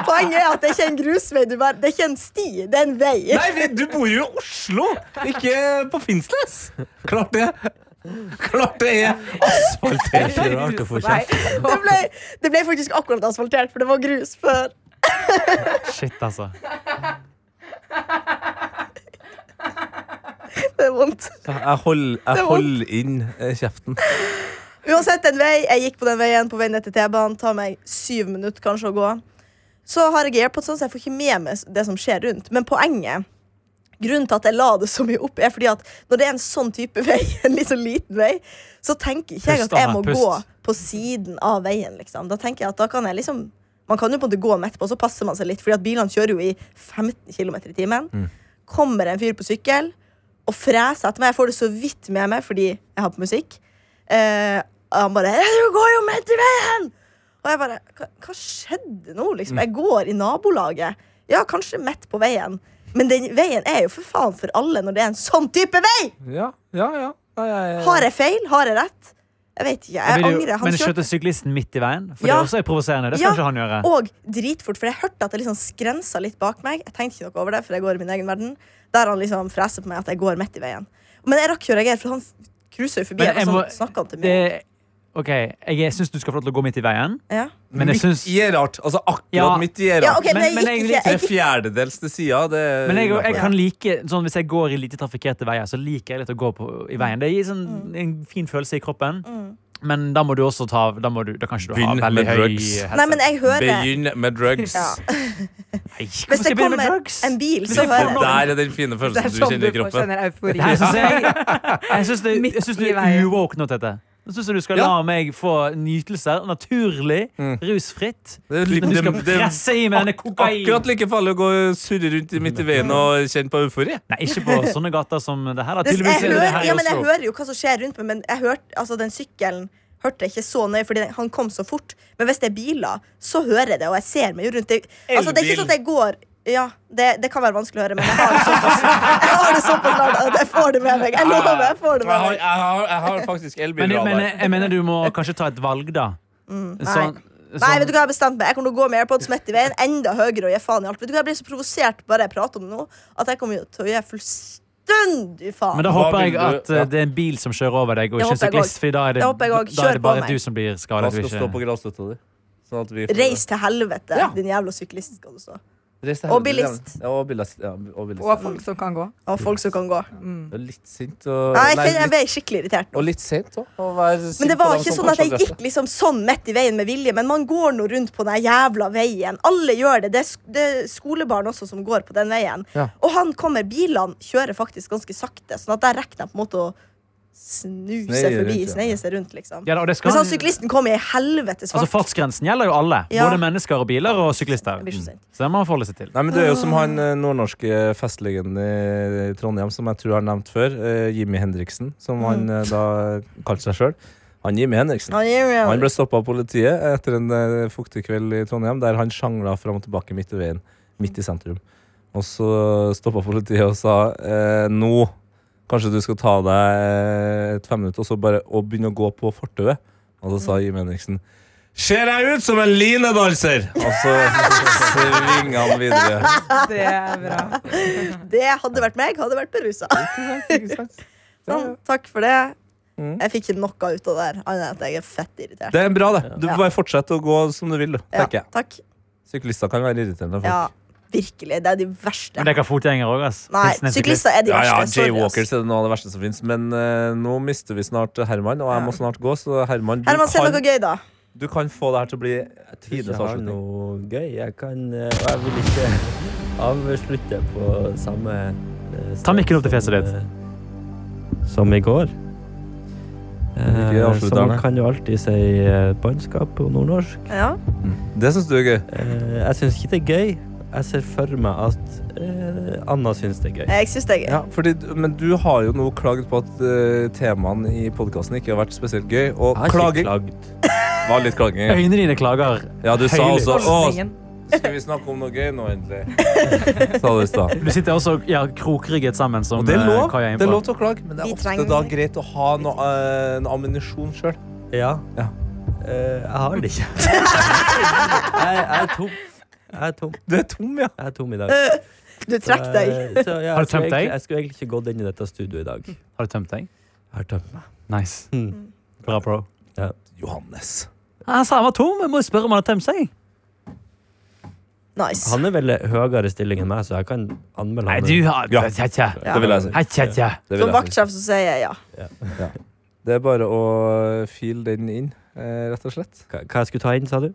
D: Poenget er at det er ikke en grusvei. Du bare, det er ikke en sti, det er en vei.
B: Nei, men du bor jo i Oslo, ikke på Finnsnes! Klart det. Klart det er
E: Det er
B: asfaltert.
E: ikke rart å få
C: Nei.
E: kjeft.
D: Det ble, det ble faktisk akkurat asfaltert, for det var grus før.
F: Shit, altså.
D: Det er vondt.
B: Jeg holder jeg
D: Det er vondt.
B: holder inn eh, kjeften.
D: Uansett en vei, jeg gikk på den veien på vei ned til T-banen. Tar meg syv minutter kanskje å gå. Så har jeg airpods, sånn, så jeg får ikke med meg det som skjer rundt. Men poenget Grunnen til at jeg la det så mye opp, er fordi at når det er en sånn type vei, en litt sånn liten vei, så tenker ikke jeg
F: Pust,
D: at jeg
F: Anna,
D: må
F: pust.
D: gå på siden av veien, liksom. Da tenker jeg at da kan jeg liksom Man kan jo på en måte gå midt på, og så passer man seg litt, fordi at bilene kjører jo i 15 km i timen.
F: Mm.
D: Kommer en fyr på sykkel og freser etter meg. Jeg får det så vidt med meg fordi jeg har på musikk. Eh, og han bare 'Du går jo midt i veien!' Og jeg bare Hva, hva skjedde nå, liksom? Jeg går i nabolaget. Ja, kanskje midt på veien. Men den veien er jo for faen for alle når det er en sånn type vei!
B: Ja, ja, ja. Nei, jeg,
D: Har jeg feil? Har jeg rett? Jeg vet ikke. Jeg
F: Men vil du-
D: angrer.
F: Men
D: Han kjørte
F: skjøtte syklisten midt i veien? For
D: Ja.
F: det også er provoserende. Det skal
D: Ja,
F: ikke han gjøre.
D: Og dritfort, for jeg hørte at det liksom skrensa litt bak meg. Jeg tenkte ikke noe over det, for jeg går i min egen verden. Der han liksom freser på meg at jeg går midt i veien. Men jeg rakk jo å reagere, for han cruiser jo forbi.
F: Men
D: og
F: jeg
D: så
F: må-
D: snakket han til meg.
F: Det, OK, jeg syns du skal få lov til å gå midt i veien,
D: Ja.
F: men jeg syns
B: Midt i er rart. Altså akkurat
F: Ja.
B: midt i er
D: Ja,
B: rart.
D: ok, men,
F: Men- men
D: jeg
F: jeg
D: gikk
F: likte
D: ikke.
B: Tre
D: Jeg gikk,
B: fjerdedels til sida, det er
F: Men jeg, jeg
B: innenfor.
F: kan like, sånn, Hvis jeg går i lite trafikkerte veier, så liker jeg litt å gå på, i
D: Mm.
F: veien. Det gir sånn, en fin følelse i kroppen. Men da må du også ta Da, må du, da kan ikke du ha
B: Begynn med
F: veldig høy
B: drugs.
F: helse.
D: nei, men jeg hører
B: Begynn med drugs.
D: ja.
F: Nei, hvorfor
D: Hvis
F: skal
D: det
F: jeg begynne med
D: kommer
F: drugs?
D: en bil,
F: Hvis
D: så
F: jeg får
D: hører
F: noe-
D: jeg.
B: Der er den fine
C: Det
B: følelsen
C: er
B: du
C: sånn
B: kjenner
C: du
B: i
C: får
B: kroppen.
C: kjenne eufori.
F: Det her syns jeg Jeg syns det,
C: Midt
F: jeg synes det
C: i veien.
F: er uwoke nå, Tete. Jeg syns du skal
B: Ja.
F: la meg få nytelser. Naturlig,
B: Mm.
F: rusfritt.
B: Det er litt-
F: Men du skal
B: det- det-
F: presse i meg denne kokain.
B: Akkurat like farlig å gå og surre rundt i midt i veien og kjenne på eufori.
F: Nei, ikke på sånne gater som det her. Da.
D: Det-
F: Tydeligvis
D: Jeg
F: er det
D: hører,
F: her i
D: ja, men jeg
F: Oslo.
D: hører jo hva som skjer rundt meg, men jeg hørte, altså, den sykkelen hørte jeg ikke så nøye, fordi den- han kom så fort. Men hvis det er biler, så hører jeg det, og jeg ser meg jo rundt. Det, altså, det er ikke sånn at jeg går ja, det, det kan være vanskelig å høre, men jeg har det såpass, jeg har det såpass langt at jeg får det med meg. Jeg lover, jeg får det
B: Jeg
D: med
B: har,
D: meg.
B: jeg har, jeg har faktisk elbil.
F: Men jeg
B: Radar.
F: mener, jeg mener du må kanskje ta et valg, da. Sånn-
D: Mm, Nei,
F: sånn-
D: vet du hva jeg har bestemt meg? Jeg kommer til å gå med AirPods midt i veien, enda høyere og gi faen i alt. Vet du hva, Jeg blir så provosert bare jeg prater om det nå, at jeg kommer jo til å gi fullstendig faen.
F: Men da
B: Hva
F: håper
B: vil
F: jeg
B: du-
F: at eh,
B: ja.
F: det er en bil som kjører over deg, og
D: Det
F: ikke en
D: håper jeg
F: syklist.
D: også.
F: For da er det,
D: Det håper jeg også.
F: da er
D: Kjør
F: det
D: på
F: bare
D: meg.
F: du som blir
B: Hva skal
F: skadet. og
B: stå på
F: Ikke...
B: gravstøtta di? Sånn at vi får-
D: Reis til helvete,
B: Ja.
D: din jævla syklist, skal du stå.
B: Reis til
D: Og
B: helvete,
D: bilist.
B: Ja, og bilist. Ja, og bilist.
C: Og folk som kan gå.
D: Og folk som kan gå.
B: Det er Litt sint og
D: Nei, jeg,
B: nei,
D: kjenner-
B: litt,
D: jeg ble skikkelig irritert nå.
B: Og litt sent òg. Men
D: Men det var ikke sånn at jeg gikk liksom sånn midt i veien med vilje, men man går nå rundt på den jævla veien. Alle gjør det. Det er, sk det er skolebarn også som går på den veien.
B: Ja.
D: Og han kommer, bilene kjører faktisk ganske sakte, sånn at der rekker de på en måte å snu
B: Sneie
D: seg forbi,
B: rundt, ja.
D: sneie seg rundt, liksom.
F: Ja, da, og det
D: Hvis
F: skal...
D: han syklisten kommer i helvetes
F: Altså,
D: fart
F: fartsgrensen gjelder jo alle.
D: Ja.
F: Både mennesker og biler og syklister.
D: Jeg blir så sint.
F: Så det må man forholde seg til.
B: Nei, men Du er jo som han eh, nordnorske festlegenden i Trondheim som jeg tror jeg har nevnt før. eh, Jimmy Henriksen, som han eh, da kalte seg sjøl. Han Jimmy Henriksen.
D: Han gjør jo-
B: Han ble stoppa av politiet etter en eh, fuktig kveld i Trondheim, der han sjangla fram og tilbake midt i veien, midt i sentrum. Og så stoppa politiet og sa eh, nå kanskje du skal ta deg eh, et fem minutter og så bare og begynne å gå på fortauet. Og så sa Jim Henriksen Ser jeg ut som en linedanser? Og så svinga han videre.
C: Det er bra.
D: Det hadde vært meg, hadde vært berusa. Sånn, takk for det. Jeg fikk ikke noe ut av det her, annet enn at jeg er fett irritert.
B: Det er bra, det. Du
D: Ja.
B: bare fortsett å gå som du vil, du,
D: Ja,
B: tenker jeg.
D: takk.
B: Syklister kan være irriterende. folk.
D: Ja, virkelig. Det er de verste.
F: Men det kan fotgjengere òg, ass.
D: Nei,
F: Hilsen en syklist.
D: syklister er de
B: Ja,
D: verste.
B: ja,
D: Sorry, altså. ass.
B: Jaywalkers er det noe av det verste som fins. Men eh, nå mister vi snart Herman, og jeg må snart gå. Så Herman, du,
D: Herman, se noe
B: kan,
D: gøy, da.
B: du kan få det her til å bli
E: Jeg
B: tidenes
E: har
B: avslutning.
E: noe gøy. Jeg kan eh, Og jeg vil ikke avslutte på samme eh,
F: Ta mikken opp til
E: sted
F: fjeset ditt.
E: som, eh, Som i går.
B: Ikke
E: Eh,
B: avslutte
E: så man
B: den,
E: kan jo alltid si eh, bannskap på nordnorsk.
D: Ja.
B: Det syns du er gøy.
E: Eh, jeg syns ikke det er gøy. Jeg ser for meg at eh, Anna syns det er gøy.
D: Jeg syns det er gøy.
B: Ja, fordi, men du har jo nå klagd på at eh, temaene i podkasten ikke har vært spesielt gøy. Og
E: Jeg har ikke
B: klaging
E: klagd.
B: var litt klaging. ja.
F: Øynene dine klager.
B: Ja, du sa
F: Høylytt.
B: også Å,
C: Holdningen.
B: skal vi snakke om noe gøy nå, egentlig? Sa du i stad.
F: Du sitter også og ja, krokrygget sammen, som
B: Og det er,
F: eh,
B: lov,
F: Kaja er
B: det er
F: inne
B: lov
F: på.
B: til å klage, men det
D: Vi
B: er ofte
D: trenger-
B: da greit å ha noe, eh, noe ammunisjon sjøl.
E: Ja.
B: Ja.
E: Eh, jeg har det ikke. jeg, jeg er tom. Jeg er tom.
B: Du er tom, ja.
E: Jeg er tom i dag. Eh,
D: Du trekk deg.
E: Så, så, ja,
F: Har du
E: jeg skulle
F: tømt deg?
E: egentlig- Jeg skulle egentlig ikke gått inn i dette studioet i dag. Jeg
F: Har du tømt deg?
E: har tømt meg.
F: Nice.
E: Mm.
F: Bra, bro.
B: Johannes.
F: Han sa han var tom. Jeg må jo spørre om han har tømt seg.
D: Nice.
E: Han er vel høyere stilling enn meg, så jeg kan anmelde
F: Nei,
E: han.
F: du har
B: Ja.
F: Tja, tja.
D: Ja.
B: Det vil jeg si.
F: Hei, tja, tja.
B: Det vil
D: Som
B: jeg si.
D: vaktsjef så sier jeg ja.
B: Det er bare å file den inn, eh, rett og slett.
E: Hva, hva jeg skulle ta inn, sa du?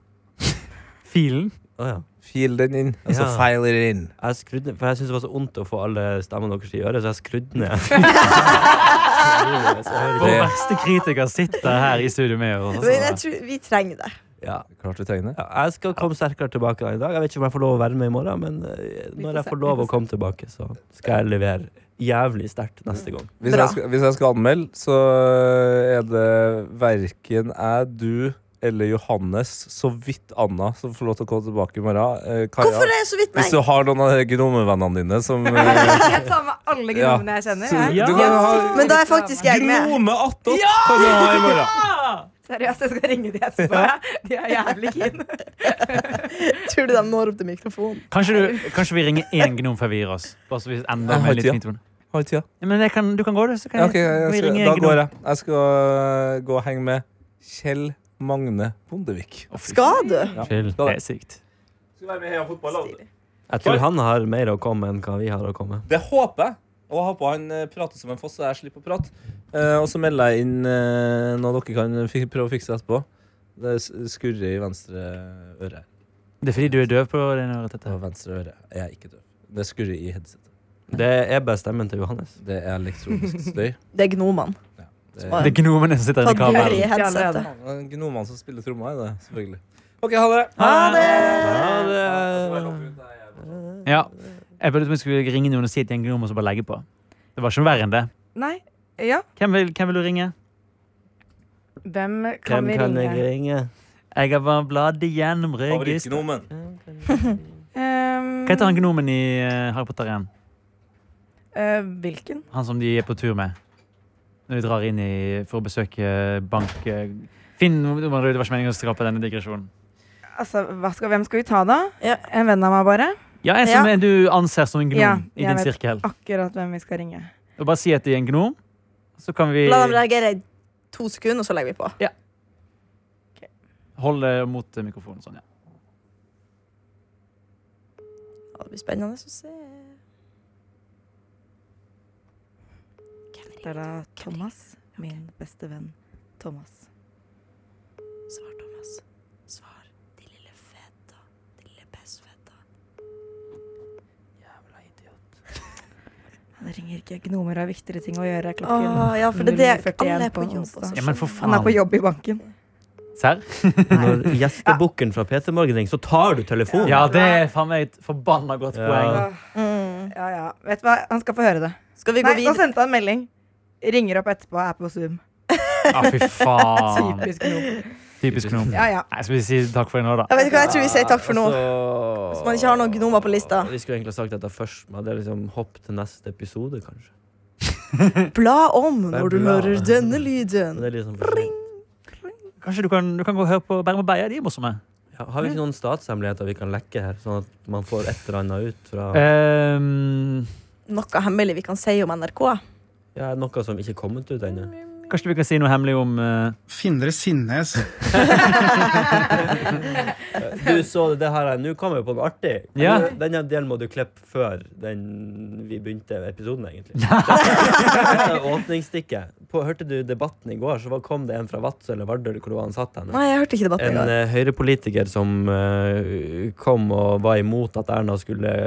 F: Filen.
E: Å ja.
B: File den inn. Altså
E: Ja.
B: file it in.
E: Jeg skrudde, for jeg syntes det var så vondt å få alle stemmene deres i øret, så jeg skrudde ned. Så jeg hører
F: Vår
E: ikke.
F: verste kritiker sitter her i studio med oss. altså.
D: Men jeg tror vi trenger det.
E: ja.
B: Klart vi trenger det.
E: Ja, jeg skal komme sterkere tilbake i dag. Jeg vet ikke om jeg får lov å være med i morgen, men eh,
C: Vi får
E: når jeg
C: se,
E: får
C: vi
E: lov
C: får
E: å komme tilbake, så skal jeg levere jævlig sterkt neste gang.
B: Hvis
D: Bra.
B: jeg, skal, hvis jeg skal anmelde, så eh, er det verken jeg, du eller Johannes, så vidt Anna, som får lov til å komme tilbake i morgen. Eh, Kaja,
D: Hvorfor er det så vidt
B: hvis du
D: meg?
B: har noen av de gnomevennene dine som eh,
C: Jeg tar med alle gnomene jeg kjenner.
B: så-
C: jeg.
B: Du
F: Ja.
B: kan ha
D: Men da er faktisk jeg med.
B: Gnome attåt kan du ha i morgen.
C: Seriøst, jeg skal ringe de etterpå. jeg. De er jævlig keen.
D: Tror du de når opp til mikrofonen?
F: Kanskje, du, kanskje vi ringer én gnom før vi gir oss? Bare så vi ender
B: Jeg har
F: med litt
B: tida.
F: fint ord.
B: Har vi tida?
F: Ja, Men jeg kan, du kan gå, du. Så kan
B: Ja, ok, jeg
F: vi
B: skal,
F: ringer
B: da
F: en gnom.
B: går jeg. Jeg skal øh, gå og henge med Kjell Magne Bondevik.
F: Å, fy
D: Skal du?
B: Ja.
F: Chill.
B: Skal det.
F: Det er sykt.
E: Jeg tror han har mer å komme enn hva vi har å komme.
B: Det håper jeg. Og jeg håper han øh, prater som en foss, så jeg slipper å prate. Eh, og så melder jeg inn eh, noe dere kan fi- prøve å fikse etterpå. Det s- skurrer i venstre øre.
F: Det er fordi du er døv på det øret.
B: Det
F: Tete.
B: var venstre øre. Jeg er ikke døv. Det skurrer i headsetet.
E: Det er bare stemmen til Johannes.
B: Det er elektronisk støy.
D: Det er gnomene.
B: Det
F: Det er gnomene som sitter
D: Ta
F: inni
D: du i
F: kabelen.
D: headsetet.
B: er gnomene som spiller trommer i det, selvfølgelig. OK, ha det.
D: Ha det!
F: Ja. Jeg burde jeg skulle ringe noen og si at de er en gnom, og så bare legge på. Det var ikke noe verre enn det.
C: Nei, ja.
F: Hvem vil, hvem vil du ringe?
C: Hvem kan
E: Hvem
C: vi
E: kan
C: ringe?
E: jeg ringe?
F: Jeg har bare bladd igjennom registeret.
B: Favorittgnomen.
C: Ehm,
F: Hva heter han gnomen i eh, Harry Potter 1?
C: eh, hvilken?
F: Han som de er på tur med. Når de drar inn i, for å besøke bank... eh, Finn, det var ikke meningen å skape denne digresjonen.
C: Altså, hva skal, hvem skal vi ta, da?
D: Ja.
C: En venn av meg, bare?
F: Ja, en som er- du anser som en gnom
C: Ja,
F: i
C: jeg
F: din
C: vet.
F: sirkel.
C: Akkurat hvem vi skal ringe.
F: Og bare si at de er en gnom, så kan vi
D: La dem reagere i to sekunder, og så legger vi på.
F: holde mot eh, mikrofonen. Sånn, ja.
D: Ja, Det blir spennende å se.
C: Det er da Thomas, min beste venn Thomas.
D: Svar, Thomas. Svar. De lille feta. De lille bestfeta.
C: Han ringer ikke. Gnomer har viktigere ting å gjøre. Klokken
D: Åh, ja, for det er det.
C: 9.41
D: Alle er på jobb.
C: onsdag.
D: Også.
F: ja, men for
C: Han
F: faen.
C: er på jobb i banken.
F: Serr?
E: Når gjestebukken fra PT Morgen ringer, så tar du telefonen.
F: Ja, det er faen meg et forbanna godt
E: Ja.
F: poeng.
D: Mm.
C: Ja, ja. Vet du hva, han skal få høre det.
D: Skal vi gå
C: Nei, nå
D: videre?
C: sendte han melding. Ringer opp etterpå, er på Zoom.
F: Ja, Ah, fy faen.
C: Typisk gnom.
F: Typisk gnom.
C: Ja, ja.
F: Nei, skal vi si takk for i nå, da?
D: Jeg vet ikke hva jeg tror vi sier takk for nå.
E: Så-
D: Hvis man ikke har noen gnomer på lista.
E: Vi skulle egentlig sagt dette først, men det er liksom hopp til neste episode, kanskje.
D: Bla om når du
E: Bla.
D: hører denne
E: Men
D: lyden.
E: det er liksom for sent.
F: Kanskje du kan, du kan gå og høre på Bærum og Beia? De er morsomme.
E: ja, har vi ikke noen statshemmeligheter vi kan lekke her, sånn at man får et eller annet ut fra
F: Eh. Ehm,
D: Noe hemmelig vi kan si om NRK.
E: ja, noe som ikke er kommet ut ennå?
F: kanskje vi kan si noe hemmelig om eh,
H: Findre Sinnes.
E: Du så det, det her jeg- Nå kom jeg på noe artig.
F: Ja.
E: Denne delen må du klippe før den vi begynte episoden, egentlig. Det er Åpningsstikket. På, hørte du debatten i går, så var- kom det en fra Vadsø eller Vardø eller hvor det var han satt henne.
D: Nei, jeg hørte ikke debatten i
E: En
D: går.
E: eh, høyrepolitiker som eh, kom og var imot at Erna skulle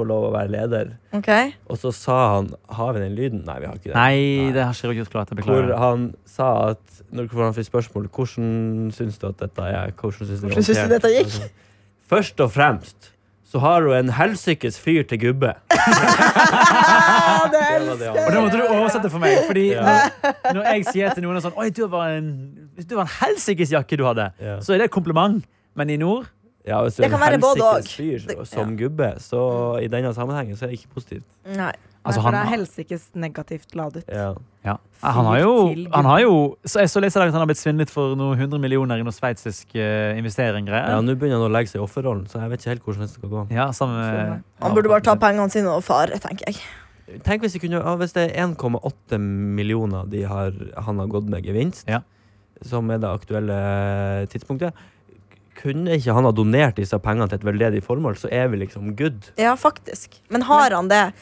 E: få lov å være leder.
D: Ok?
E: Og så sa han Har vi den lyden? Nei, vi har ikke den.
F: Nei, det har ikke jeg gjort klart. Jeg
E: Hvor
F: beklager.
E: han sa at Når hvor han fikk spørsmål Hvordan syns du at dette er? Hvordan syns du,
D: Hvordan syns du
E: håndtert?»
D: dette gikk?
E: Altså, Først og fremst så har hun en helsikes fyr til gubbe.
D: Ah, det
E: Det var
D: elsker
E: det han-
F: Og
D: jeg!
F: da måtte du oversette for meg. Fordi
E: Ja.
F: når, når jeg sier til noen sånn Oi, du var en, du var en helsikes jakke du hadde,
E: Ja.
F: så er det et kompliment. Men i nord
E: Ja, hvis du
D: Det
E: er en
D: kan være både
E: helsikes
D: og.
E: fyr
D: Det-
E: som gubbe, så i denne sammenhengen så er det ikke positivt.
D: Nei.
F: altså,
C: Nei, for
F: han,
C: det er helsikes negativt ladet.
E: Ja.
F: ja. han har jo,
C: Fyr til
F: han har jo så Jeg så litt i dag at han har blitt svindlet for noen 100 millioner i noen sveitsisk eh, investering.
E: Ja,
F: greier
E: Nå begynner han å legge seg i offerrollen, så jeg vet ikke helt hvordan det skal gå.
F: Ja, sammen med
D: Han burde bare ta pengene sine og fare, tenker jeg.
E: Tenk hvis, de kunne, ja, hvis det er 1,8 millioner de har, han har gått med gevinst,
F: Ja.
E: som er det aktuelle tidspunktet. Kunne ikke han ha donert disse pengene til et veldedig formål, så er vi liksom good.
D: Ja, faktisk. Men har han det?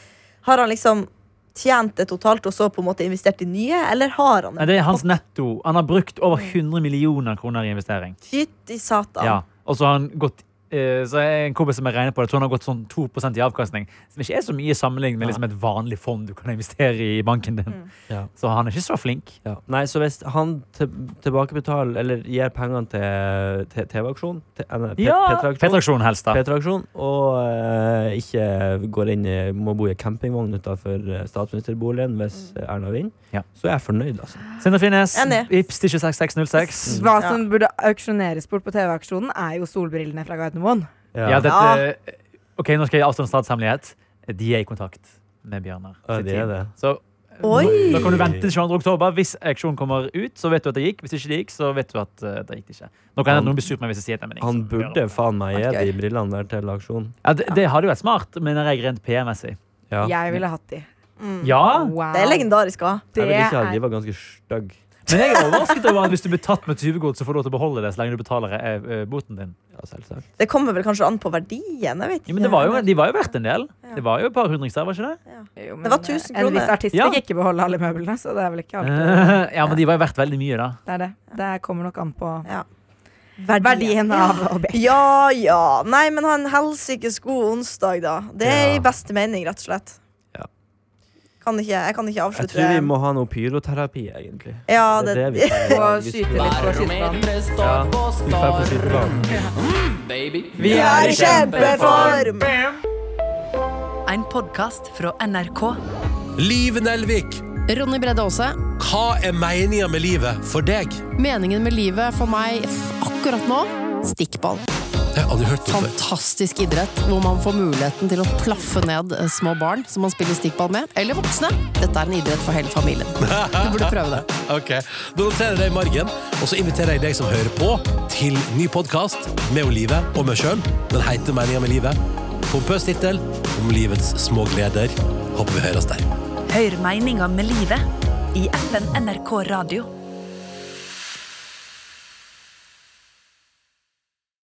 D: Har han liksom tjent det totalt og så på en måte investert i nye, eller har han
F: Nei,
D: det?
F: det er hans netto. Han har brukt over 100 millioner kroner i investering.
D: Fytti satan.
F: Ja. Og så har han gått eh, så er en kompis som jeg regner på det, tror han har gått sånn 2 i avkastning. Som ikke er så mye sammenlignet med liksom et vanlig fond du kan investere i i banken din.
E: Ja.
F: Så han er ikke så flink.
E: Ja. Nei, så hvis han til, tilbakebetaler eller gir pengene til, til TV-aksjonen til- eh, P- P3-aksjonen
F: P3-aksjon helst, da.
E: P3-aksjonen, og eh, ikke går inn i, må bo i en campingvogn utenfor eh, statsministerboligen hvis eh, Erna vinner,
F: Mm. Ja.
E: så er jeg fornøyd, altså.
F: Sindre Finnes,
D: Enig.
F: Ips til 26606.
C: Hva som burde auksjoneres bort på TV-aksjonen, er jo solbrillene fra Gardermoen.
F: Ja,
D: Ja.
F: dette, ok, nå skal jeg avstå en statshemmelighet. De er i kontakt med Bjørnar.
E: Ja,
F: sitt
E: det er
F: team.
E: det.
F: Så
D: Oi!
F: Da kan du vente til 22. oktober. Hvis auksjonen kommer ut, så vet du at det gikk. Hvis ikke det gikk, så vet du at eh, det gikk ikke. Nå kan
E: Han-
F: noen bli sur på meg hvis jeg sier det, men jeg-
E: Han burde faen meg gi
D: Ok.
E: de brillene der til aksjonen.
F: Ja, det, det hadde jo vært smart, mener jeg rent PR-messig.
E: Ja.
C: Jeg ville hatt de.
F: Ja,
C: Wow.
D: Mm. Det er legendarisk òg.
C: Det
E: Jeg vil ikke ha,
C: er-
E: de var ganske stygge.
F: men jeg er overrasket over at hvis du blir tatt med tyvegod, så får du lov til å beholde det så lenge du betaler eh, eh, boten din.
E: Ja, selvsagt.
D: Det kommer vel kanskje an på verdien. jeg vet ikke.
F: Ja, men det var jo, de var jo verdt en del. Det var jo et par hundrings der, var ikke det?
C: Jo, men
D: Det var 1000
C: En
D: kroner.
C: viss artist
F: Ja.
C: fikk ikke beholde alle møblene, så det er vel ikke alltid
F: Ja, men de var jo verdt veldig mye, da.
C: Det er det. Det kommer nok an på
D: Ja. Verdien.
C: verdien av objektet.
D: Ja ja. Nei, men ha en helsikes god onsdag, da. Det er
E: Ja.
D: i beste mening, rett og slett.
E: Ja.
D: Kan ikke, jeg kan ikke
E: Jeg
D: avslutte
E: tror vi må ha noe pyroterapi, egentlig.
D: Ja,
E: Det
D: det,
E: er det vi
C: Og
E: trenger. Ja, vi
C: skyte
E: skulle-
C: litt på skytebanen.
E: Ja, vi får på skytebanen.
D: vi er i kjempeform!
H: En podkast fra NRK.
I: Liv Nelvik,
J: Ronny Bredde Aase.
I: hva er meninga med livet for deg?
J: Meningen med livet for meg f- akkurat nå stikkball.
I: Det har jeg aldri hørt om før.
J: Fantastisk idrett hvor man får muligheten til å plaffe ned eh, små barn som man spiller stikkball med, eller voksne. Dette er en idrett for hele familien. Du burde prøve det.
I: Ok, Da noterer jeg det i margen, og så inviterer jeg deg som hører på, til ny podkast med om livet og meg sjøl. Den heter Meninga med livet. Pompøs tittel om livets små gleder. Håper vi høres der.
H: Hør meninga med livet i FN NRK Radio.